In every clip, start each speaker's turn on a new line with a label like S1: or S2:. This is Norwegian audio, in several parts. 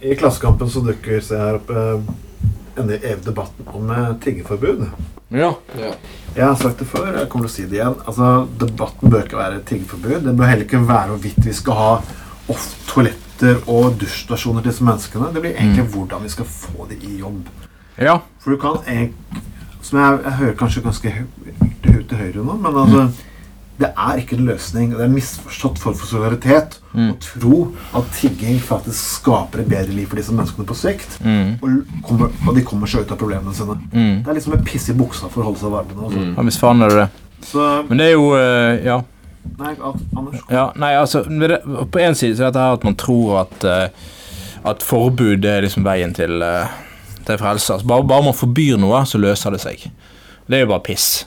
S1: I Klassekampen så dukker se her opp eh, en evig debatt om eh, tiggeforbud.
S2: Ja.
S1: Jeg har sagt det før, jeg kommer til å si det igjen. Altså, Debatten bør ikke være tiggeforbud. Det bør heller ikke være hvorvidt vi skal ha off-toaletter og dusjstasjoner til disse menneskene. Det blir egentlig hvordan vi skal få de i jobb.
S2: ja.
S1: For du kan egentlig Som jeg, jeg hører kanskje ganske høyt til høyre nå, men altså Det er ikke en løsning. og Det er en misforstått form for solidaritet å tro at tigging faktisk skaper et bedre liv for disse menneskene på sikt.
S2: Mm,
S1: Og, kommer, og de kommer seg ut av problemene sine. Det er liksom en piss i buksa for å holde seg varme. nå, Altså.
S2: Ja, hvis faen er det det.
S1: Så
S2: Men det er jo eh, Ja.
S1: Nei, Anders.
S2: Ja, nei, altså men det- På en side så er dette her at man tror at eh, At forbud det er liksom veien til eh, Til frelse altså, bare, bare man forbyr noe, så løser det seg Det er jo bare piss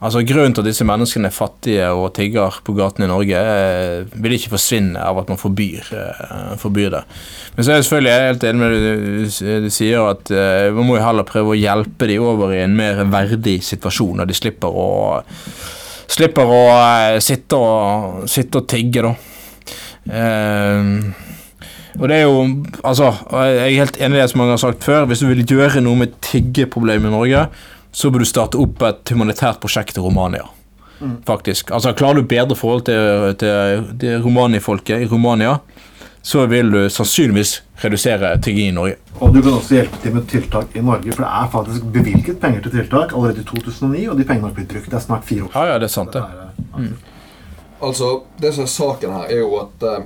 S2: Altså grunnen til at disse menneskene er fattige Og tigger på gaten i Norge eh, Vil ikke forsvinne av at man forbyr eh, Forbyr det Men så er jeg selvfølgelig helt enig med det du, du sier At eh, man må jo heller prøve å hjelpe de over I en mer verdig situasjon Og de slipper å slipper å eh, sitte, og, sitte og tigge, da. Ehm, og det er jo Altså, og jeg er helt enig i det som mange har sagt før. Hvis du vil gjøre noe med tiggeproblemet i Norge, så bør du starte opp et humanitært prosjekt i Romania. Faktisk. Altså, klarer du bedre forhold til, til, til romanifolket i Romania, så vil du sannsynligvis redusere tigging i Norge.
S1: Og du kan også hjelpe til med tiltak i Norge, for det er faktisk bevilget penger til tiltak allerede i 2009, og de pengene har ikke blitt brukt. Det er snart fire år.
S2: Ja, ja, det er sant, det.
S1: det. eh,
S3: Altså, det som er saken her, er jo at eh,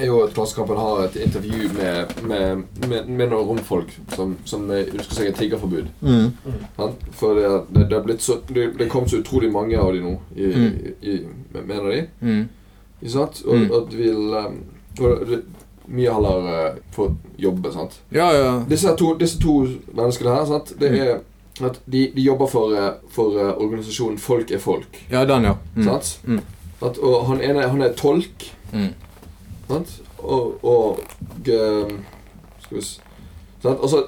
S3: er jo at Klassekampen har et intervju med, med, med, med noen romfolk som, som eh, ønsker seg et tiggerforbud.
S2: Mm.
S3: Sant? For det, det, det, er blitt så, det, det kom så utrolig mange av de nå, i, i, i, mener de.
S2: Mm.
S3: Ikke sant? Og at vi um, Mye heller eh, få jobbe, sant.
S2: Ja, ja.
S3: Disse, her to, disse to menneskene her, sant, det er at de, de jobber for, eh, for eh, organisasjonen Folk er folk.
S2: Ja, den, ja. Mm.
S3: Sant?
S2: Mm.
S3: At, og han ene han er tolk.
S2: Mm.
S3: Sant? Og, og eh, Skal vi se sant? Altså,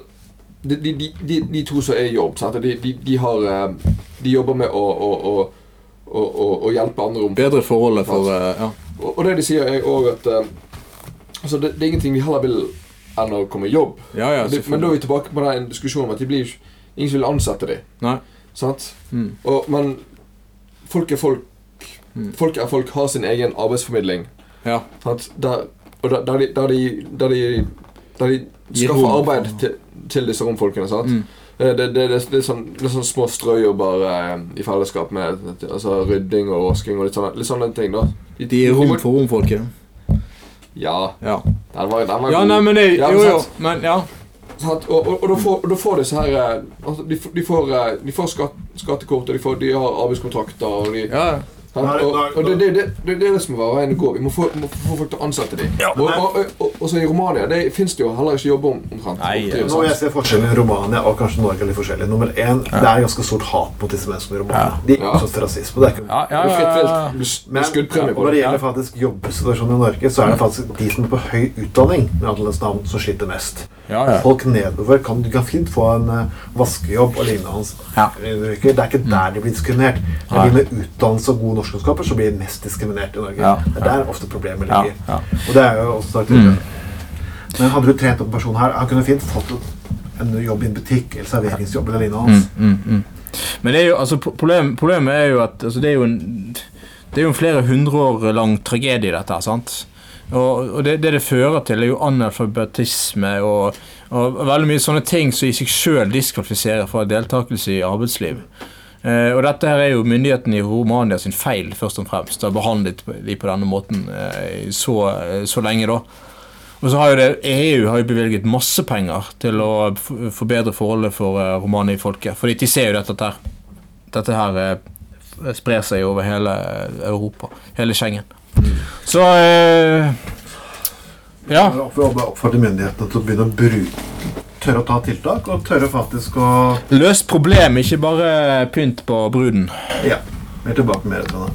S3: de, de, de, de, de to som er i jobb, sant? De, de, de, har, eh, de jobber med å, å, å, å, å, å hjelpe andre om
S2: Bedre forholdet for eh, Ja.
S3: og, og det de sier, er òg at eh, altså, det, det er ingenting vi heller vil enn å komme i jobb.
S2: Ja, ja,
S3: det, men da er vi tilbake på den diskusjonen om at de blir, ikke- ingen som vil ansette dem.
S2: Nei.
S3: Sant?
S2: Mm.
S3: Og, men folk er folk.
S2: Mm.
S3: Folk er folk har sin egen arbeidsformidling.
S2: Ja.
S3: Sant? Der, og der, der, de, der, de, der, de, der de
S2: Gir
S3: skaffer
S2: rom for-
S3: arbeid til, til disse romfolkene. Sant?
S2: Mm.
S3: Eh, Det, det, det, det, er sånn, det er sånn små strøjobber eh, i fellesskap med altså, rydding og vasking og litt sånne, litt sånne ting. da
S2: De er rom for romfolket.
S3: Ja,
S2: Ja.
S3: den var, den var
S2: Ja,
S3: god.
S2: nei, men det,
S3: Ja,
S2: jo,
S3: men
S2: jo,
S3: sant?
S2: men ja.
S3: Sant? Og, og, og, da får, og da får disse her eh, altså, de, f- de får, eh, de får skatt, skattekort, og de, får, de har arbeidskontrakter og de,
S2: ja.
S3: sant?
S1: Nei,
S3: Og,
S1: nei,
S3: og det, det, det, det, det er det som må være veien å gå. Vi må få, må få folk til å ansette dem. og,
S1: nei.
S3: og, og, og, og så i Romania det fins det jo heller ikke jobber om, omtrent.
S2: Nei,
S3: Omtrent,
S1: Nå
S3: sant?
S1: jeg ser forskjellen i Romania og kanskje Norge er litt forskjellig. Nummer én, Det er ganske stort hat mot disse menneskene i Romania. De er
S3: Ja.
S1: utsatt for rasisme. Det er ikke
S2: Ja, ja,
S3: Det er fritt
S2: ja,
S3: vilt.
S2: ja.
S3: Med s- med
S1: men
S3: skuddpremie
S1: når
S3: på
S1: det
S3: det.
S1: gjelder faktisk jobbsituasjonen i Norge, så er det faktisk de som er på høy utdanning med annerledes navn, som sliter mest.
S2: Ja, ja.
S1: Folk nedover kan, du kan fint få en eh, vaskejobb og lignende. hans.
S2: Ja.
S1: Det er ikke der de blir diskriminert. Det er de med utdannelse og gode norskkunnskaper som blir mest diskriminert i Norge.
S2: Ja.
S1: Det er der ofte problemet
S2: Ja,
S1: ligger.
S2: ja. Mm.
S1: Og det er jo også sagt tidligere. Men hadde du trent opp en person her, han kunne fint fått en jobb i en butikk eller serveringsjobb eller lignende.
S2: Mm.
S1: hans.
S2: Men det er jo, altså, pro- problem, problemet er jo at altså, det er jo en det er jo en flere hundre år lang tragedie, dette her. sant? Og, og det, det det fører til, er jo analfabetisme og, og veldig mye sånne ting som i seg sjøl diskvalifiserer fra deltakelse i arbeidsliv. Eh, og dette her er jo myndighetene i Romania sin feil, først og fremst. å ha behandlet de på denne måten eh, så, så lenge, da. Og så har jo det, EU har jo bevilget masse penger til å f- forbedre forholdet for eh, romani-folket. Fordi de ser jo dette her. Dette her eh, f- sprer seg over hele eh, Europa. Hele Schengen. Så eh, Ja.
S1: For å opp- jobbe- oppfordre myndighetene til å begynne å bruke Tørre å ta tiltak, og tørre faktisk å
S2: Løs problem, ikke bare pynt på bruden.
S1: Ja. Vi er tilbake med det.